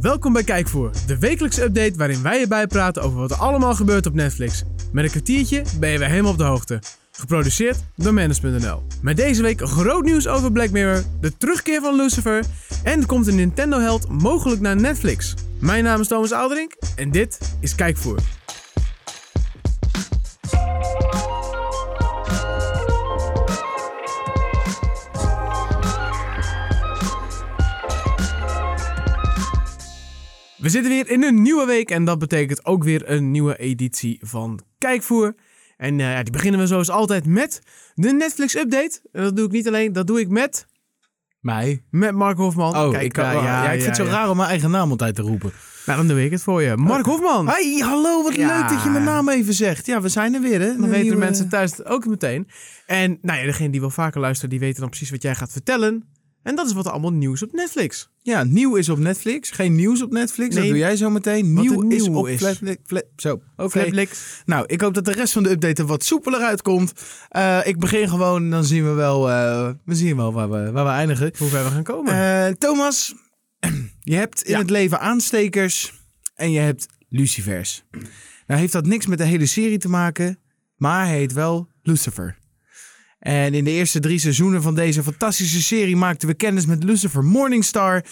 Welkom bij Kijkvoer, de wekelijkse update waarin wij je bijpraten over wat er allemaal gebeurt op Netflix. Met een kwartiertje ben je weer helemaal op de hoogte. Geproduceerd door Manus.nl. Met deze week groot nieuws over Black Mirror, de terugkeer van Lucifer en komt een Nintendo-held mogelijk naar Netflix. Mijn naam is Thomas Alderink en dit is Kijkvoer. We zitten weer in een nieuwe week en dat betekent ook weer een nieuwe editie van Kijkvoer. En eh, ja, die beginnen we zoals altijd met de Netflix update. En dat doe ik niet alleen, dat doe ik met, Mij? met Mark Hofman. Oh, Kijk, ik, eh, oh, ja, Oh. ik vind het zo ja. raar om mijn eigen naam altijd te roepen. Nou, dan doe ik het voor je. Mark Hofman! Hey, hallo, wat Ja. leuk dat je mijn naam even zegt. Ja, we zijn er weer, hè? Dan Een weten de nieuwe- mensen thuis het ook meteen. En nou ja, degene die wel vaker luisteren, die weten dan precies wat jij gaat vertellen. En dat is wat er allemaal nieuws op Netflix. Ja, nieuw is op Netflix. Geen nieuws op Netflix, Nee. dat doe jij zo meteen. Wat Nieuw er is nieuw op is. Oh, Netflix. Zo, oké. Netflix. Nou, ik hoop dat de rest van de update er wat soepeler uitkomt. Eh, ik begin gewoon, dan zien we wel, eh, we zien wel waar, we, waar we eindigen. Hoe ver we gaan komen. Eh, Thomas, je hebt in Ja. het leven aanstekers en je hebt lucifers. Nou heeft dat niks met de hele serie te maken, maar hij heet wel Lucifer. En in de eerste drie seizoenen van deze fantastische serie maakten we kennis met Lucifer Morningstar.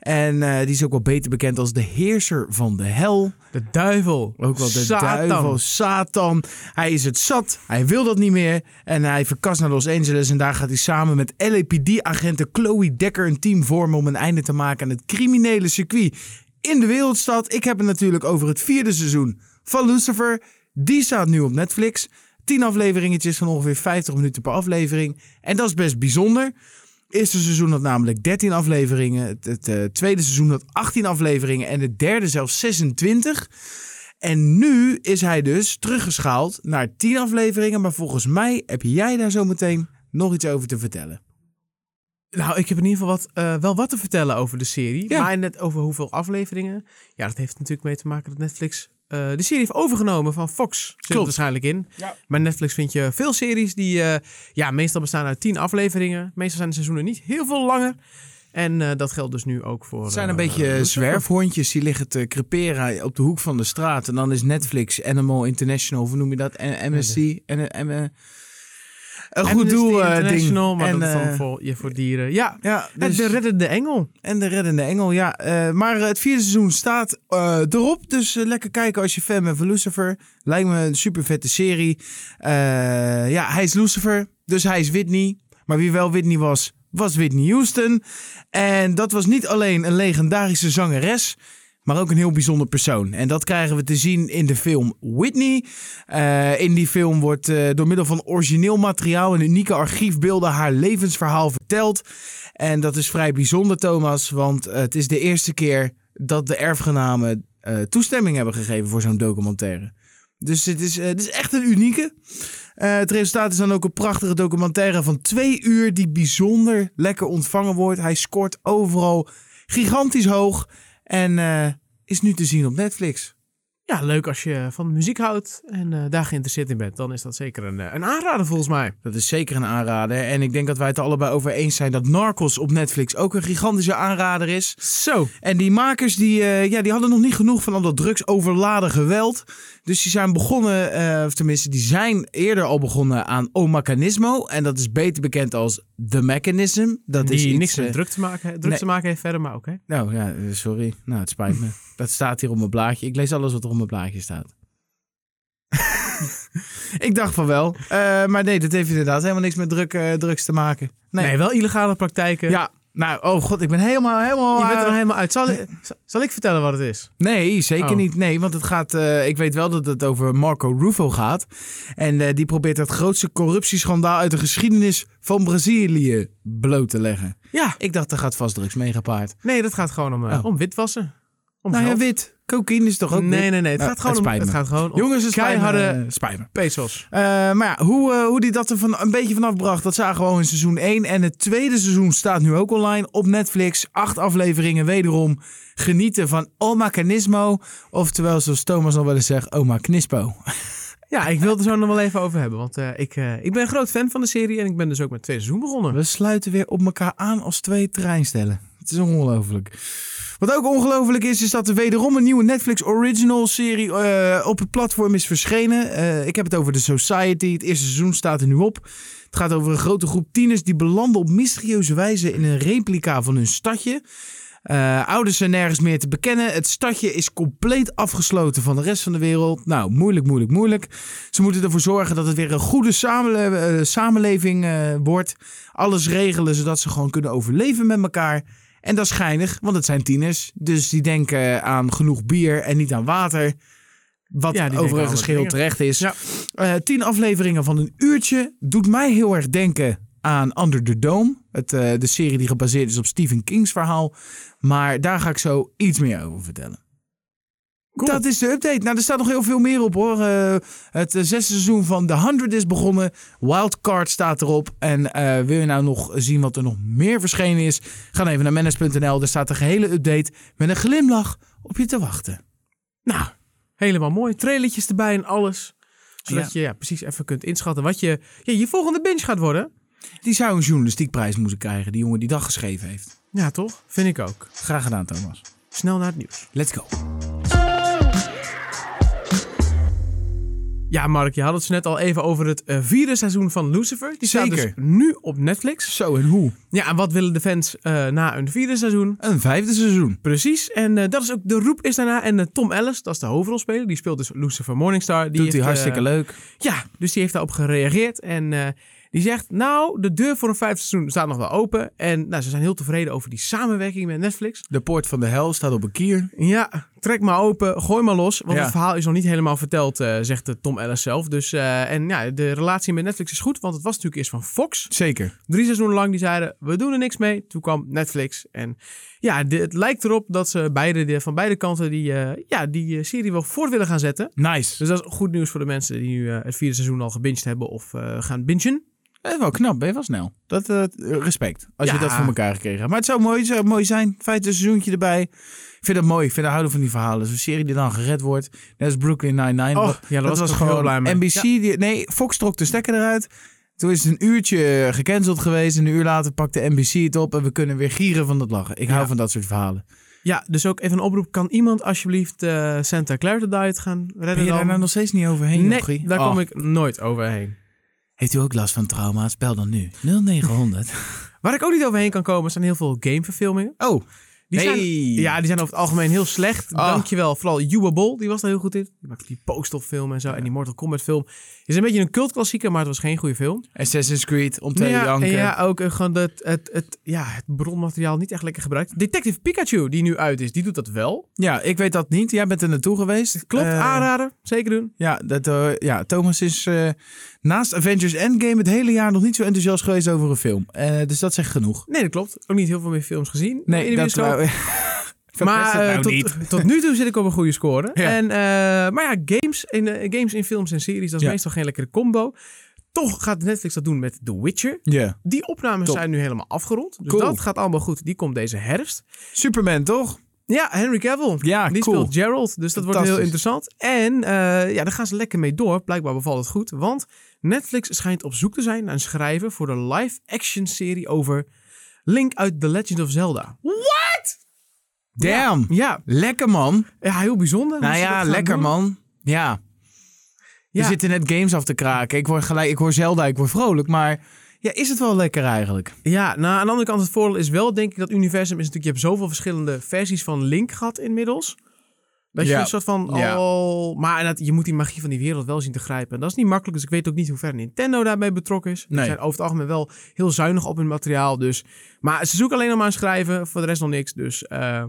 En eh, die is ook wel beter bekend als de heerser van de hel. de duivel. Ook wel de Satan. duivel, Satan. Hij is het zat, hij wil dat niet meer. En hij verkast naar Los Angeles en daar gaat hij samen met LAPD-agenten Chloe Dekker een team vormen om een einde te maken aan het criminele circuit in de wereldstad. Ik heb het natuurlijk over het vierde seizoen van Lucifer. Die staat nu op Netflix. Tien afleveringetjes van ongeveer 50 minuten per aflevering. En dat is best bijzonder. Het eerste seizoen had namelijk 13 afleveringen. Het, het, eh, tweede seizoen had 18 afleveringen. En het derde zelfs 26. En nu is hij dus teruggeschaald naar 10 afleveringen. Maar volgens mij heb jij daar zo meteen nog iets over te vertellen. Nou, ik heb in ieder geval wat, eh, wel wat te vertellen over de serie. Ja. Maar net over hoeveel afleveringen. Ja, dat heeft natuurlijk mee te maken dat Netflix eh, de serie heeft overgenomen van Fox. Zit het Klopt. waarschijnlijk in. Ja. Maar Netflix vind je veel series die eh, ja, meestal bestaan uit tien afleveringen. Meestal zijn de seizoenen niet heel veel langer. En eh, dat geldt dus nu ook voor... Het zijn een eh, beetje Lucifer. zwerfhondjes die liggen te creperen op de hoek van de straat. En dan is Netflix, Animal International, hoe noem je dat? En MSC. En, en, eh, een goed Amnesty doel eh, ding. dus International, maar en, dat is dan eh, voor, ja, voor dieren. Ja, ja, dus- de reddende engel. En de reddende engel, ja. Eh, maar het vierde seizoen staat eh, erop. Dus eh, lekker kijken als je fan bent van Lucifer. Lijkt me een super vette serie. Eh, ja, hij is Lucifer, dus hij is Whitney. Maar wie wel Whitney was, was Whitney Houston. En dat was niet alleen een legendarische zangeres... Maar ook een heel bijzonder persoon. En dat krijgen we te zien in de film Whitney. Eh, in die film wordt eh, door middel van origineel materiaal en unieke archiefbeelden haar levensverhaal verteld. En dat is vrij bijzonder, Thomas, want eh, het is de eerste keer dat de erfgenamen eh, toestemming hebben gegeven voor zo'n documentaire. Dus het is, eh, het is echt een unieke. Eh, het resultaat is dan ook een prachtige documentaire van twee uur die bijzonder lekker ontvangen wordt. Hij scoort overal gigantisch hoog en eh, is nu te zien op Netflix. Ja, leuk als je van muziek houdt en eh, daar geïnteresseerd in bent. Dan is dat zeker een, eh, een aanrader volgens mij. Dat is zeker een aanrader. En ik denk dat wij het er allebei over eens zijn dat Narcos op Netflix ook een gigantische aanrader is. Zo. En die makers die, eh, ja, die hadden nog niet genoeg van al dat drugsoverladen geweld. Dus die zijn begonnen, eh, of tenminste, die zijn eerder al begonnen aan Omacanismo. En dat is beter bekend als The Mechanism. Dat die is iets, niks met eh, druk, te maken, druk nee. te maken heeft verder, maar ook hè. Nou ja, eh, sorry. Nou, het spijt me. Dat staat hier op mijn blaadje. Ik lees alles wat er op mijn blaadje staat. ik dacht van wel. Eh, maar nee, dat heeft inderdaad helemaal niks met druk, eh, drugs te maken. Nee. Nee. wel illegale praktijken. Ja, nou, oh god, ik ben helemaal, helemaal... Je bent er eh, nog helemaal uit. Zal, ik- zal ik vertellen wat het is? Nee, zeker Oh. niet. Nee, want het gaat. eh, ik weet wel dat het over Marco Rufo gaat. En eh, die probeert het grootste corruptieschandaal uit de geschiedenis van Brazilië bloot te leggen. Ja. Ik dacht, er gaat vast drugs mee gepaard. Nee, dat gaat gewoon om, eh, Oh. om witwassen. Om Nou ja, geld. wit. Cocaïne is toch ook. nee, wit? nee, nee. Het Nou, gaat gewoon het om, spijt het me. gaat gewoon om Jongens, het spijt me. keiharde eh, spijt me. pesos. Eh, maar ja, hoe, eh, hoe die dat er van, een beetje vanaf bracht, dat zagen we al in seizoen 1. En het tweede seizoen staat nu ook online op Netflix. Acht afleveringen wederom. Genieten van Oma Canismo. Oftewel, zoals Thomas al wel eens zegt, Oma Knispo. Ja, ik wil het er zo nog wel even over hebben. Want eh, ik, eh, ik ben een groot fan van de serie en ik ben dus ook met twee seizoen begonnen. We sluiten weer op elkaar aan als twee treinstellen. Het is ongelooflijk. Wat ook ongelooflijk is, is dat er wederom een nieuwe Netflix original serie eh, op het platform is verschenen. Eh, ik heb het over The Society. Het eerste seizoen staat er nu op. Het gaat over een grote groep tieners die belanden op mysterieuze wijze in een replica van hun stadje. Eh, ouders zijn nergens meer te bekennen. Het stadje is compleet afgesloten van de rest van de wereld. Nou, moeilijk, moeilijk, moeilijk. Ze moeten ervoor zorgen dat het weer een goede samenle- eh, samenleving eh, wordt. Alles regelen zodat ze gewoon kunnen overleven met elkaar. En dat is geinig, want het zijn tieners. Dus die denken aan genoeg bier en niet aan water. Wat Ja, die denken aan overigens andere geheel dingen. terecht is. Ja. Eh, tien afleveringen van een uurtje doet mij heel erg denken aan Under the Dome. Het, eh, de serie die gebaseerd is op Stephen King's verhaal. Maar daar ga ik zo iets meer over vertellen. Cool. Dat is de update. Nou, er staat nog heel veel meer op hoor. Eh, het eh, zesde seizoen van The 100 is begonnen. Wildcard staat erop. En eh, wil je nou nog zien wat er nog meer verschenen is? Ga dan even naar manage.nl. Daar staat de gehele update met een glimlach op je te wachten. Nou, helemaal mooi. Trailertjes erbij en alles. Zodat je ja, precies even kunt inschatten wat je, ja, je volgende binge gaat worden. Die zou een journalistiekprijs moeten krijgen, die jongen die dat geschreven heeft. Ja, toch? Vind ik ook. Graag gedaan, Thomas. Snel naar het nieuws. Let's go. Ja, Mark, je had het zo net al even over het eh, vierde seizoen van Lucifer. Die staat Zeker. dus nu op Netflix. Zo en hoe? Ja, en wat willen de fans eh, na een vierde seizoen? Een vijfde seizoen. Precies. En eh, dat is ook de roep is daarna. En eh, Tom Ellis, dat is de hoofdrolspeler, die speelt dus Lucifer Morningstar. Die Doet hij heeft, hartstikke eh, leuk. Ja, dus die heeft daarop gereageerd. En eh, die zegt, nou, de deur voor een vijfde seizoen staat nog wel open. En nou, ze zijn heel tevreden over die samenwerking met Netflix. De poort van de hel staat op een kier. Ja, trek maar open, gooi maar los. Want Ja. het verhaal is nog niet helemaal verteld, eh, zegt eh, Tom Ellis zelf. Dus, eh, en ja, de relatie met Netflix is goed, want het was natuurlijk eerst van Fox. Zeker. Drie seizoenen lang, die zeiden, we doen er niks mee. Toen kwam Netflix. En ja, de- het lijkt erop dat ze beide, de, van beide kanten die, eh, ja, die eh, serie wel voort willen gaan zetten. Nice. Dus dat is goed nieuws voor de mensen die nu eh, het vierde seizoen al gebinged hebben of eh, gaan bingen. Eh, wel knap, ben je wel snel. Dat, eh, respect, als je Ja. dat voor elkaar gekregen hebt. Maar het zou mooi, zou mooi zijn. Vijfde seizoentje erbij. Ik vind dat mooi. Ik vind houden van die verhalen. Zo'n serie die dan gered wordt. Net als Brooklyn Nine-Nine. Oh, Wat- ja, daar was ik ook heel blij mee. NBC, Ja. die- nee, Fox trok de stekker eruit. Toen is het een uurtje eh, gecanceld geweest. En een uur later pakte NBC het op. En we kunnen weer gieren van dat lachen. Ik hou Ja. van dat soort verhalen. Ja, dus ook even een oproep. Kan iemand alsjeblieft eh, Santa Clarita Diet gaan redden Ben je dan? daar nou nog steeds niet overheen, nee, Jochie? daar Oh. kom ik nooit overheen. Heeft u ook last van trauma's? Bel dan nu. 0900. Waar ik ook niet overheen kan komen zijn heel veel gameverfilmingen. Oh, Die nee. zijn, ja, die zijn over het algemeen heel slecht. Ah. Dankjewel. Vooral Yuba Bol, die was daar heel goed in. Die maakte die Postal-film en zo. En die Mortal Kombat-film. Is een beetje een cultklassieker, maar het was geen goede film. Assassin's Creed, om te ja, janken. en ja, ook eh, gewoon dat, het, het, ja, het bronmateriaal niet echt lekker gebruikt. Detective Pikachu, die nu uit is, die doet dat wel. Ja, ik weet dat niet. Jij bent er naartoe geweest. Klopt, Eh, aanraden. Zeker doen. Ja, dat, eh, ja, Thomas is eh, naast Avengers Endgame het hele jaar nog niet zo enthousiast geweest over een film. Eh, dus dat zegt genoeg. Nee, dat klopt. Ook niet heel veel meer films gezien. in de dat bioscoop. wou- Verpest Maar het eh, nou tot, niet. tot nu toe zit ik op een goede score. Ja. En, eh, maar ja, games in, eh, games in films en series, dat is Ja. meestal geen lekkere combo. Toch gaat Netflix dat doen met The Witcher. Ja. Die opnames Top. zijn nu helemaal afgerond. Dus Cool. dat gaat allemaal goed. Die komt deze herfst. Superman, toch? Ja, Henry Cavill. Ja, die cool. speelt Gerald. Dus dat wordt heel Fantastisch. interessant. En eh, ja, daar gaan ze lekker mee door. Blijkbaar bevalt het goed. Want Netflix schijnt op zoek te zijn naar een schrijver voor de live-action serie over Link uit The Legend of Zelda. Damn. Ja, Lekker, man. ja heel bijzonder. hoe Nou ze dat ja, gaan lekker, doen. man. Ja. Ja. We zitten net games af te kraken. Ik word gelijk, ik hoor Zelda, ik word vrolijk. Maar ja, is het wel lekker eigenlijk? Ja, nou, aan de andere kant, het voordeel is wel, denk ik, dat universum is natuurlijk... Je hebt zoveel verschillende versies van Link gehad inmiddels. Dat je Ja. een soort van Ja. al... Maar inderdaad, je moet die magie van die wereld wel zien te grijpen. En dat is niet makkelijk, dus ik weet ook niet hoe ver Nintendo daarbij betrokken is. Ze Nee. zijn over het algemeen wel heel zuinig op hun materiaal, dus... Maar ze zoeken alleen nog maar aan schrijven, voor de rest nog niks. Dus eh,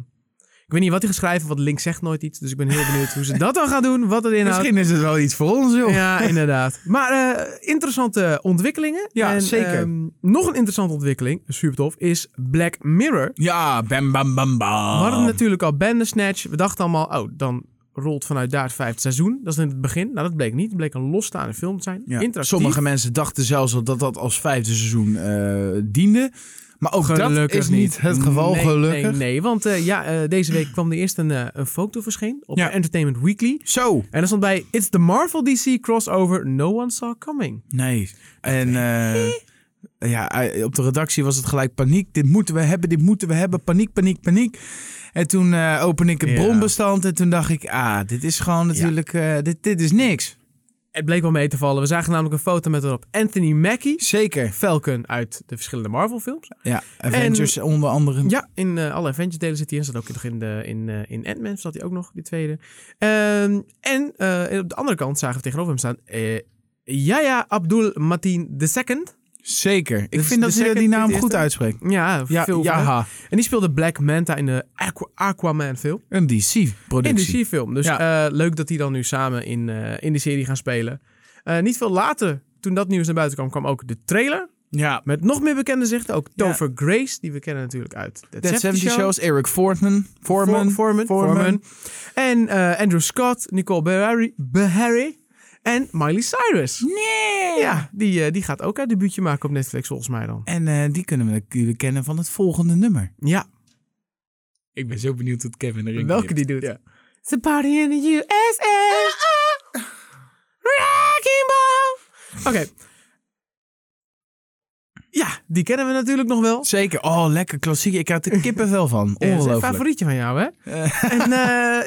ik weet niet wat hij gaat schrijven, want Link zegt nooit iets. Dus ik ben heel benieuwd hoe ze dat dan gaan doen, wat het inhoudt. Misschien is het wel iets voor ons, joh. Ja, inderdaad. Maar eh, interessante ontwikkelingen. Ja, zeker. ehm, nog een interessante ontwikkeling, super tof, is Black Mirror. Ja, bam, bam, bam, bam. We hadden natuurlijk al Bandersnatch. We dachten allemaal, oh, dan rolt vanuit daar het vijfde seizoen. Dat is in het begin. Nou, dat bleek niet. Het bleek een losstaande film te zijn. Ja. Interactief. Sommige mensen dachten zelfs al dat dat als vijfde seizoen eh, diende. Maar ook dat is niet, het geval, Nee, gelukkig. Nee, nee. Want eh, ja, eh, deze week kwam er eerst een, eh, een foto verscheen op Ja. Entertainment Weekly. Zo. En er stond bij, it's the Marvel DC crossover no one saw coming. Nee. En eh, ja, hij- op de redactie was het gelijk paniek. Dit moeten we hebben, dit moeten we hebben. Paniek, paniek, paniek. En toen eh open ik het Ja. bronbestand en toen dacht ik... Ah, dit is gewoon natuurlijk... eh, dit, dit is niks. Het bleek wel mee te vallen. We zagen namelijk een foto met erop Anthony Mackie, Zeker. Falcon uit de verschillende Marvel-films. Ja, Avengers onder andere. Ja, in eh, alle Avengers-delen zit hij in. Zat ook nog in, de, in, eh, in Ant-Man, zat hij ook nog, die tweede. Ehm, en eh, op de andere kant zagen we tegenover hem staan... eh Yaya Abdul Mateen II. Zeker. Ik Dus vind de dat ze second die naam dit is goed dan? uitspreekt. Ja, Ja, veel van hem. ja, En die speelde Black Manta in de Aqua- Aquaman-film. In een de DC-productie. C-film. Dus eh, leuk dat die dan nu samen in, eh, in de serie gaan spelen. Eh, niet veel later, toen dat nieuws naar buiten kwam, kwam ook de trailer. Ja. Met nog meer bekende zichten. Ook Ja. Tover Grace, die we kennen natuurlijk uit. That, That 70 Shows, Eric Fortman. Foreman. Forman. Foreman. Foreman. Foreman. En eh, Andrew Scott, Nicole Beharry, Beharry en Miley Cyrus. Nee! Ja, die, eh, die gaat ook haar debuutje maken op Netflix volgens mij dan. En eh, die kunnen we natuurlijk kennen van het volgende nummer. Ja, Ik ben zo benieuwd wat Kevin erin welke die doet. It's a party in the USA. Wrecking Ball. Oké. Ja, die kennen we natuurlijk nog wel. Zeker. Oh, lekker klassiek. Ik had er kippenvel van. Ja, dat is een Ongelooflijk. favorietje van jou, hè? En, eh,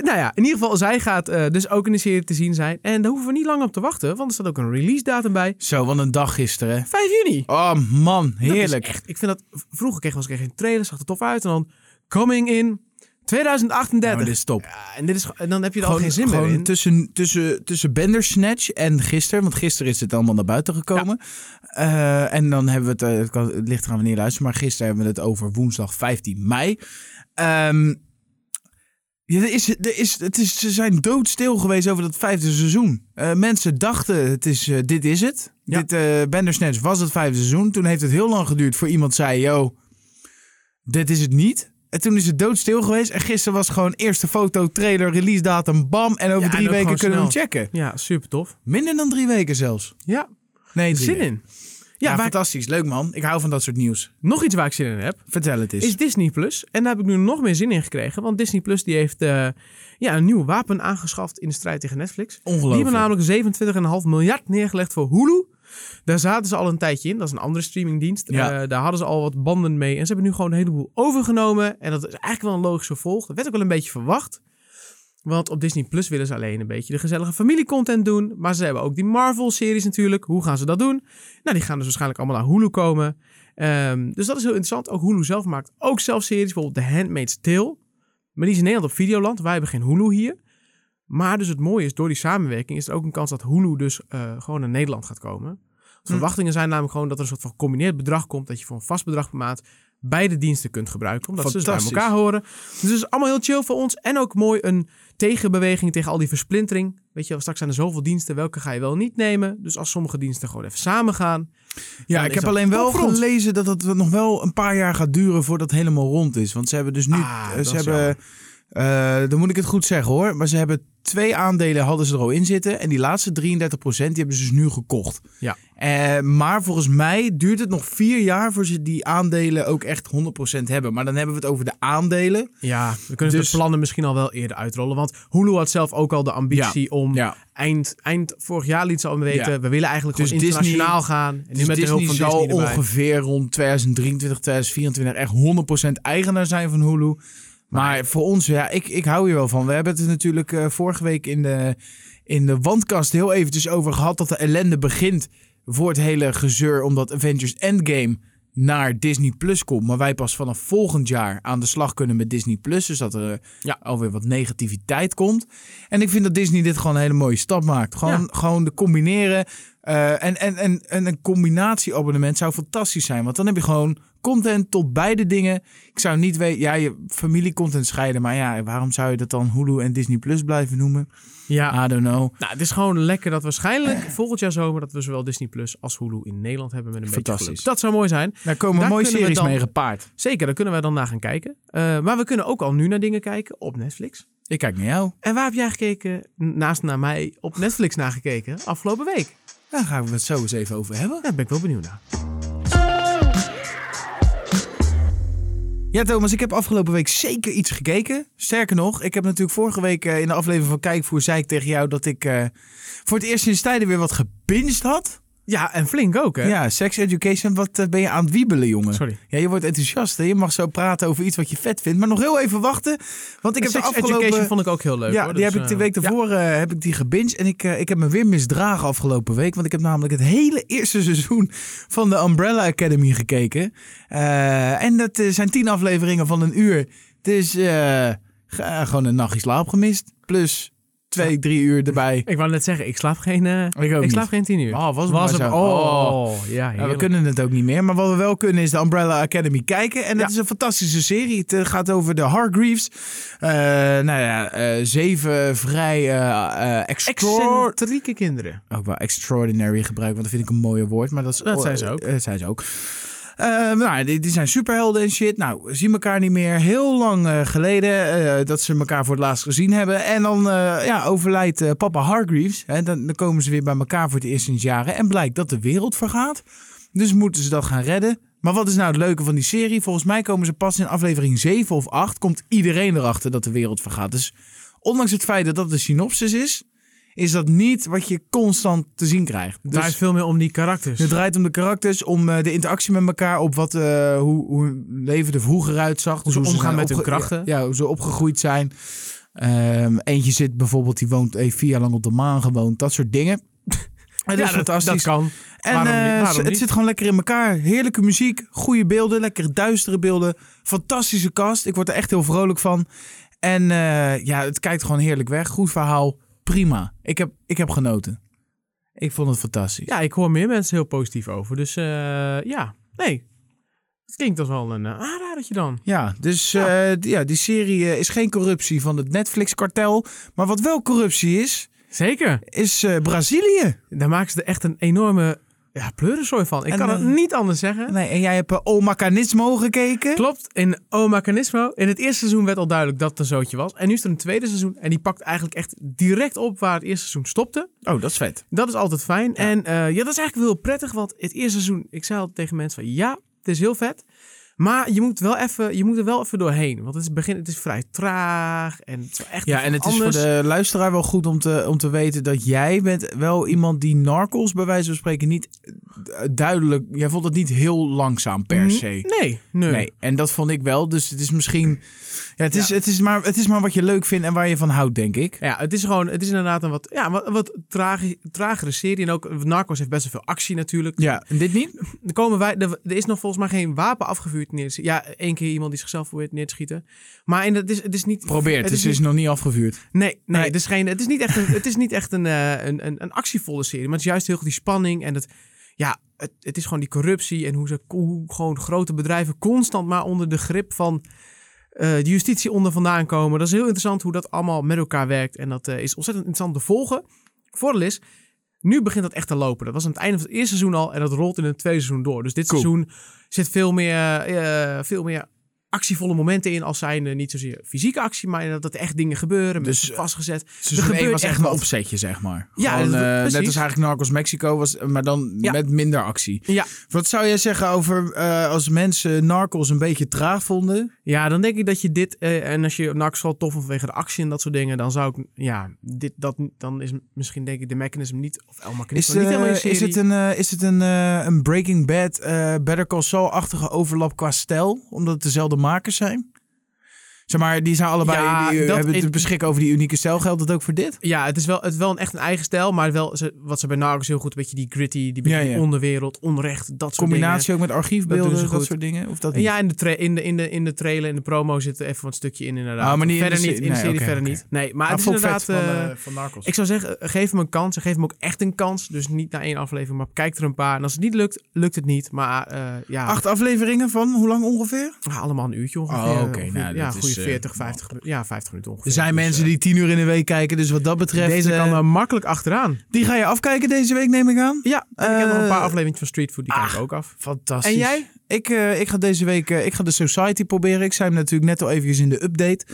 nou ja, in ieder geval, zij gaat eh, dus ook in de serie te zien zijn. En daar hoeven we niet lang op te wachten, want er staat ook een release datum bij. Zo, wat een dag gisteren. hè. 5 juni. Oh man, Dat is heerlijk. echt, ik vind dat, vroeger kreeg was ik echt een trailer, zag er tof uit. En dan, coming in 2038. Nou, dit is top. Ja, en, dit is, ge- en dan heb je er al Gewoon, geen zin gewoon meer in. Tussen, tussen, tussen Bandersnatch en gisteren. Want gisteren is het allemaal naar buiten gekomen. Eh, en dan hebben we het, eh, het, kan, het ligt eraan wanneer je luistert. Maar gisteren hebben we het over woensdag 15 mei. Ehm, ja, er is, er is, het is, ze zijn doodstil geweest over dat vijfde seizoen. Eh, mensen dachten, het is, eh, dit is het. Ja. Dit, eh Bandersnatch was het vijfde seizoen. Toen heeft het heel lang geduurd voor iemand zei... Yo, dit is het niet. En toen is het doodstil geweest. En gisteren was gewoon eerste foto, trailer, release datum, bam. En over Ja, en drie ook weken gewoon kunnen we hem snel. checken. Ja, super tof. Minder dan drie weken zelfs. Ja, Nee, drie zin weken. in. Ja, Ja, waar, fantastisch. Leuk man. Ik hou van dat soort nieuws. nog iets waar ik zin in heb, Vertel het eens. is Disney Plus. En daar heb ik nu nog meer zin in gekregen, want Disney Plus die heeft eh, ja, een nieuw wapen aangeschaft in de strijd tegen Netflix. Die Ongelooflijk. hebben namelijk 27,5 miljard neergelegd voor Hulu. Daar zaten ze al een tijdje in. Dat is een andere streamingdienst. Ja. Eh, daar hadden ze al wat banden mee. En ze hebben nu gewoon een heleboel overgenomen. En dat is eigenlijk wel een logisch vervolg. Dat werd ook wel een beetje verwacht. Want op Disney Plus willen ze alleen een beetje de gezellige familiecontent doen. Maar ze hebben ook die Marvel-series natuurlijk. Hoe gaan ze dat doen? Nou, die gaan dus waarschijnlijk allemaal naar Hulu komen. Ehm, dus dat is heel interessant. Ook Hulu zelf maakt ook zelf series. Bijvoorbeeld The Handmaid's Tale. Maar die is in Nederland op Videoland. Wij hebben geen Hulu hier. Maar dus het mooie is, door die samenwerking is er ook een kans dat Hulu dus eh, gewoon naar Nederland gaat komen. Hm. Verwachtingen zijn namelijk gewoon dat er een soort van gecombineerd bedrag komt. Dat je voor een vast bedrag per maand beide diensten kunt gebruiken. Omdat ze dus bij Fantastisch. elkaar horen. Dus het is allemaal heel chill voor ons. En ook mooi een tegenbeweging tegen al die versplintering. Weet je wel, straks zijn er zoveel diensten. Welke ga je wel niet nemen? Dus als sommige diensten gewoon even samen gaan. ja, dan ik is heb dat alleen wel top voor ons. gelezen dat het nog wel een paar jaar gaat duren voordat het helemaal rond is. Want ze hebben dus nu... Ah, eh, dat ze is hebben, eh, dan moet ik het goed zeggen hoor. Maar ze hebben twee aandelen hadden ze er al in zitten. En die laatste 33% die hebben ze dus nu gekocht. Ja. Eh, maar volgens mij duurt het nog vier jaar voor ze die aandelen ook echt 100% hebben. Maar dan hebben we het over de aandelen. Ja, we kunnen Dus- de plannen misschien al wel eerder uitrollen. Want Hulu had zelf ook al de ambitie om eind, eind vorig jaar liet ze al weten. Ja. We willen eigenlijk Dus gewoon internationaal Disney- gaan. En nu Dus met de hulp van Disney zal Disney erbij. ongeveer rond 2023, 2024 echt 100% eigenaar zijn van Hulu. Maar voor ons, ja, ik, ik hou hier wel van. We hebben het er natuurlijk eh, vorige week in de, in de wandkast heel eventjes over gehad dat de ellende begint voor het hele gezeur omdat Avengers Endgame naar Disney Plus komt. Maar wij pas vanaf volgend jaar aan de slag kunnen met Disney Plus. Dus dat er eh, Ja. alweer wat negativiteit komt. En ik vind dat Disney dit gewoon een hele mooie stap maakt. Gewoon, gewoon de combineren. eh, en, en, en, en een combinatieabonnement zou fantastisch zijn. Want dan heb je gewoon content tot beide dingen. Ik zou niet weten, ja, je familiecontent scheiden. Maar ja, waarom zou je dat dan Hulu en Disney Plus blijven noemen? Ja, I don't know. nou, het is gewoon lekker dat waarschijnlijk volgend jaar zomer... dat we zowel Disney Plus als Hulu in Nederland hebben met een beetje Fantastisch. geluk. Dat zou mooi zijn. Daar komen Daar mooie kunnen we series dan- mee gepaard. Zeker, daar kunnen wij dan naar gaan kijken. Eh, maar we kunnen ook al nu naar dingen kijken op Netflix. Ik kijk naar jou. En waar heb jij gekeken, naast naar mij, op Netflix nagekeken afgelopen week? Daar gaan we het zo eens even over hebben. Daar ben ik wel benieuwd naar. Ja, Thomas, ik heb afgelopen week zeker iets gekeken. Sterker nog, ik heb natuurlijk vorige week eh, in de aflevering van Kijkvoer zei ik tegen jou dat ik eh, voor het eerst sinds tijden weer wat gebinged had. Ja, en flink ook, hè? Ja, sex education, wat eh, ben je aan het wiebelen, jongen? Sorry. Ja, je wordt enthousiast. Hè? Je mag zo praten over iets wat je vet vindt. Maar nog heel even wachten. Want ik heb Sex de afgelopen... Education vond ik ook heel leuk. ja, hoor. die Dus, heb ik de eh, week daarvoor eh, heb ik die gebinged. En ik, eh, ik heb me weer misdragen afgelopen week. Want ik heb namelijk het hele eerste seizoen van de Umbrella Academy gekeken. Eh, en dat eh, zijn tien afleveringen van een uur. Dus eh, ge- eh, gewoon een nachtje slaap gemist. Plus twee, drie uur erbij. Ik wou net zeggen, ik slaap geen, eh, Ik ook ik slaap niet. geen tien uur. Oh, was het Was maar hem- zo. Oh, ja, Ja, Nou, we heerlijk. kunnen het ook niet meer. Maar wat we wel kunnen is de Umbrella Academy kijken. En dat Ja. is een fantastische serie. Het eh, gaat over de Hargreaves. Eh, nou ja, eh, zeven vrij eh, eh, extraor- Excentrieke kinderen. ook wel extraordinary gebruiken, want dat vind ik een mooier woord. Maar dat, is, Dat zijn ze ook. Eh, dat zijn ze ook. Eh, nou, die, die zijn superhelden en shit. Nou, zien elkaar niet meer. Heel lang eh, geleden eh, dat ze elkaar voor het laatst gezien hebben. En dan eh, ja, overlijdt eh, papa Hargreaves. Hè, dan, dan komen ze weer bij elkaar voor het eerst sinds jaren. En blijkt dat de wereld vergaat. Dus moeten ze dat gaan redden. Maar wat is nou het leuke van die serie? Volgens mij komen ze pas in aflevering 7 of 8. Komt iedereen erachter dat de wereld vergaat. Dus ondanks het feit dat dat de synopsis is, is dat niet wat je constant te zien krijgt. Het Dus draait veel meer om die karakters. het draait om de karakters, om eh, de interactie met elkaar, op wat, eh, hoe, hoe hun leven er vroeger uitzag. ze omgaan zijn met hun opge- krachten. Ja, hoe ze opgegroeid zijn. Ehm, eentje zit bijvoorbeeld, die woont heeft vier jaar lang op de maan gewoond. Dat soort dingen. En ja, dat, dat kan. en Waarom niet? eh, Waarom het niet? zit gewoon lekker in elkaar. Heerlijke muziek, goede beelden, lekkere duistere beelden. Fantastische cast. Ik word er echt heel vrolijk van. En eh, ja, het kijkt gewoon heerlijk weg. Goed verhaal. Prima. Ik heb, ik heb genoten. Ik vond het fantastisch. Ja, ik hoor meer mensen heel positief over. Dus eh, ja, nee. Het klinkt als wel een eh, aanradertje dan. Ja, dus eh, d- ja, die serie eh, is geen corruptie van het Netflix-kartel. Maar wat wel corruptie is, Zeker. is eh, Brazilië. Daar maken ze er echt een enorme ja, pleurensooi van. Ik En, kan het eh, niet anders zeggen. Nee, en jij hebt eh, O Mecanismo gekeken. Klopt, in O Mecanismo. In het eerste seizoen werd al duidelijk dat het een zootje was. En nu is er een tweede seizoen. En die pakt eigenlijk echt direct op waar het eerste seizoen stopte. Oh, dat is vet. Dat is altijd fijn. En eh, ja, dat is eigenlijk wel heel prettig. Want het eerste seizoen, ik zei al tegen mensen van ja, het is heel vet. Maar je moet, wel even, je moet er wel even doorheen. Want het, is het begin, het is vrij traag. En het is wel echt Ja, even en het is voor anders. de luisteraar wel goed om te, om te weten dat jij bent wel iemand die Narcos bij wijze van spreken niet eh, duidelijk... Jij vond het niet heel langzaam per se. Nee, nee. Mhm. Nee, en dat vond ik wel. Dus het is misschien... Ja, het, is, Het, is maar, het is maar wat je leuk vindt en waar je van houdt, denk ik. Ja, het is gewoon, het is inderdaad een wat, ja, wat, wat tragi- tragere serie. En ook Narcos heeft best wel veel actie natuurlijk. Ja, en dit niet? Er, komen wij, er, er is nog volgens mij geen wapen afgevuurd. Neer, te- ja, één keer iemand die zichzelf probeert neer te schieten. Maar in, het, is, het is niet... Probeer, dus Het het is, is niet- is nog niet afgevuurd. Nee, nee, Nee. Het, is geen, het is niet echt, een, het is niet echt een, eh, een, een, een actievolle serie. Maar het is juist heel erg die spanning en het, ja, het, het is gewoon die corruptie en hoe, ze, hoe gewoon grote bedrijven constant maar onder de grip van eh, de justitie onder vandaan komen. Dat is heel interessant hoe dat allemaal met elkaar werkt. En dat eh, is ontzettend interessant te volgen. Voordeel is, nu begint dat echt te lopen. Dat was aan het einde van het eerste seizoen al en dat rolt in het tweede seizoen door. Dus dit Cool. seizoen zit veel meer, eh, veel meer actievolle momenten in als zijn eh, niet zozeer fysieke actie, maar dat, dat er echt dingen gebeuren. Dus, Dus eh, vastgezet. Seizoen Er één gebeurt was echt echt een wat. opzetje, zeg maar. Ja, Gewoon, dat- eh, net precies. als eigenlijk Narcos Mexico was, eh, maar dan Ja. met minder actie. Ja. Wat zou jij zeggen over eh, als mensen Narcos een beetje traag vonden? ja, dan denk ik dat je dit. eh, en als je NAX wel tof vond vanwege de actie en dat soort dingen, dan zou ik. Ja, dit, dat, dan is misschien denk ik de mechanism niet. Of El Mechanism niet Is, eh, helemaal in is het een, eh, is het een, eh, een Breaking Bad, eh, Better Call Saul-achtige overlap qua stijl? Omdat het dezelfde makers zijn? Zeg maar, die zijn allebei, Ja, die eh, dat hebben is- het beschikken over die unieke stijl. Geldt dat ook voor dit? Ja, het is wel, het is wel een echt een eigen stijl, maar wel ze- wat ze bij Narcos heel goed, een beetje die gritty, die, beetje Ja, ja. die onderwereld, onrecht, dat soort dingen. Combinatie ook met archiefbeelden, Dat doen dat, ze goed. soort dingen? Of dat niet? Ja, in de, tra- in, de, in, de, in de trailer, in de promo zit er even wat stukje in inderdaad. Ah, maar niet in de verder se- niet, in de nee, serie oké, verder oké. niet. Nee, maar Ah, het is vond ik inderdaad... vet van, eh, eh, van Narcos. Ik zou zeggen, eh, geef hem een kans. En geef hem ook echt een kans. Dus niet na één aflevering, maar kijk er een paar. En als het niet lukt, lukt het niet. Maar eh, ja, Acht afleveringen van hoe lang ongeveer? ah, allemaal een uurtje ongeveer. Oh, oké, Ongeveer- nou, ja, dat is, goede eh, 40, 50, minu- ja, 50 minuten ongeveer. Er zijn Dus, mensen eh, die tien uur in de week kijken, dus wat dat betreft... Deze eh, kan er makkelijk achteraan. die ga je afkijken deze week, neem ik aan? Ja, en ik heb nog een eh, paar afleveringen van Street Food, die kijk ik ah. ook af. Fantastisch. En jij? Ik, eh, ik ga deze week eh, ik ga de Society proberen. Ik zei hem natuurlijk net al eventjes in de update.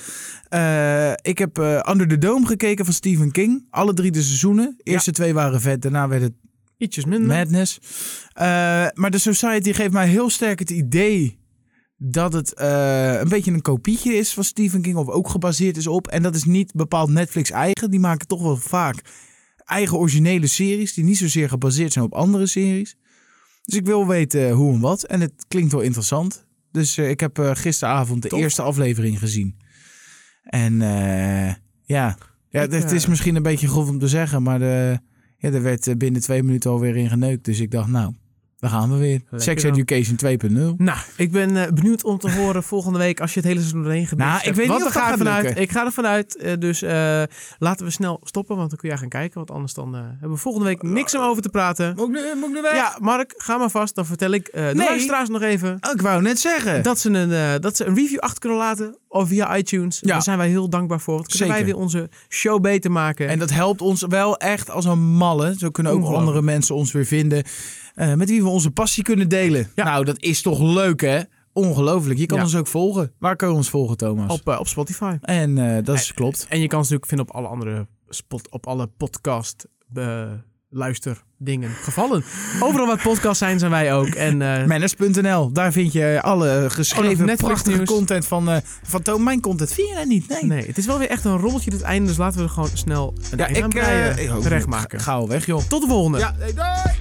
Eh, ik heb eh, Under the Dome gekeken van Stephen King. Alle drie de seizoenen. Eerste twee waren vet, daarna werd het Ietsjes minder. madness. Eh, maar de Society geeft mij heel sterk het idee dat het eh, een beetje een kopietje is van Stephen King. Of ook gebaseerd is op. En dat is niet bepaald Netflix eigen. Die maken toch wel vaak eigen originele series die niet zozeer gebaseerd zijn op andere series. Dus ik wil weten hoe en wat. En het klinkt wel interessant. Dus eh, ik heb eh, gisteravond de Tof. eerste aflevering gezien. En eh, ja, ja Ik, het, het is eh, misschien een beetje grof om te zeggen, maar de, ja, er werd eh, binnen twee minuten alweer in geneukt. Dus ik dacht, nou, daar gaan we weer. Lekker Sex dan. Education 2.0. Nou, ik ben eh, benieuwd om te horen volgende week als je het hele seizoen doorheen gebinst Nou, ik weet want niet of daar ga dat ik gaat vanuit. lukken. Ik ga er vanuit. eh, dus eh, laten we snel stoppen, want dan kun jij gaan kijken. Want anders dan eh, hebben we volgende week niks om over te praten. Moet ik nu, moet ik nu weg? Ja, Mark, ga maar vast. Dan vertel ik eh de Nee. luisteraars nog even oh, Ik wou net zeggen. dat ze, een, eh, dat ze een review achter kunnen laten of via iTunes. Ja. Daar zijn wij heel dankbaar voor. Want kunnen wij Zeker. weer onze show beter maken. En dat helpt ons wel echt als een malle. Zo kunnen ook Ongelooflijk. andere mensen ons weer vinden. eh, met wie we onze passie kunnen delen. Ja. Nou, dat is toch leuk, hè? Ongelooflijk. Je kan Ja. ons ook volgen. Waar kun je ons volgen, Thomas? op, eh, op Spotify. En eh, dat is, klopt. En je kan ze natuurlijk vinden op alle andere spot, op alle podcast eh, luisterdingen gevallen. Overal waar podcasts zijn, zijn wij ook. En eh, Manners.nl, daar vind je alle Oh, geschreven nog Netflix prachtige nieuws. content van, eh van Toon. Mijn content vind jij niet? Nee. nee, het is wel weer echt een rommeltje dit einde, dus laten we er gewoon snel een Ja, einde aan ik, breien, eh, ik- terecht maken. Ga al weg, joh. Tot de volgende. Ja, hey, doei!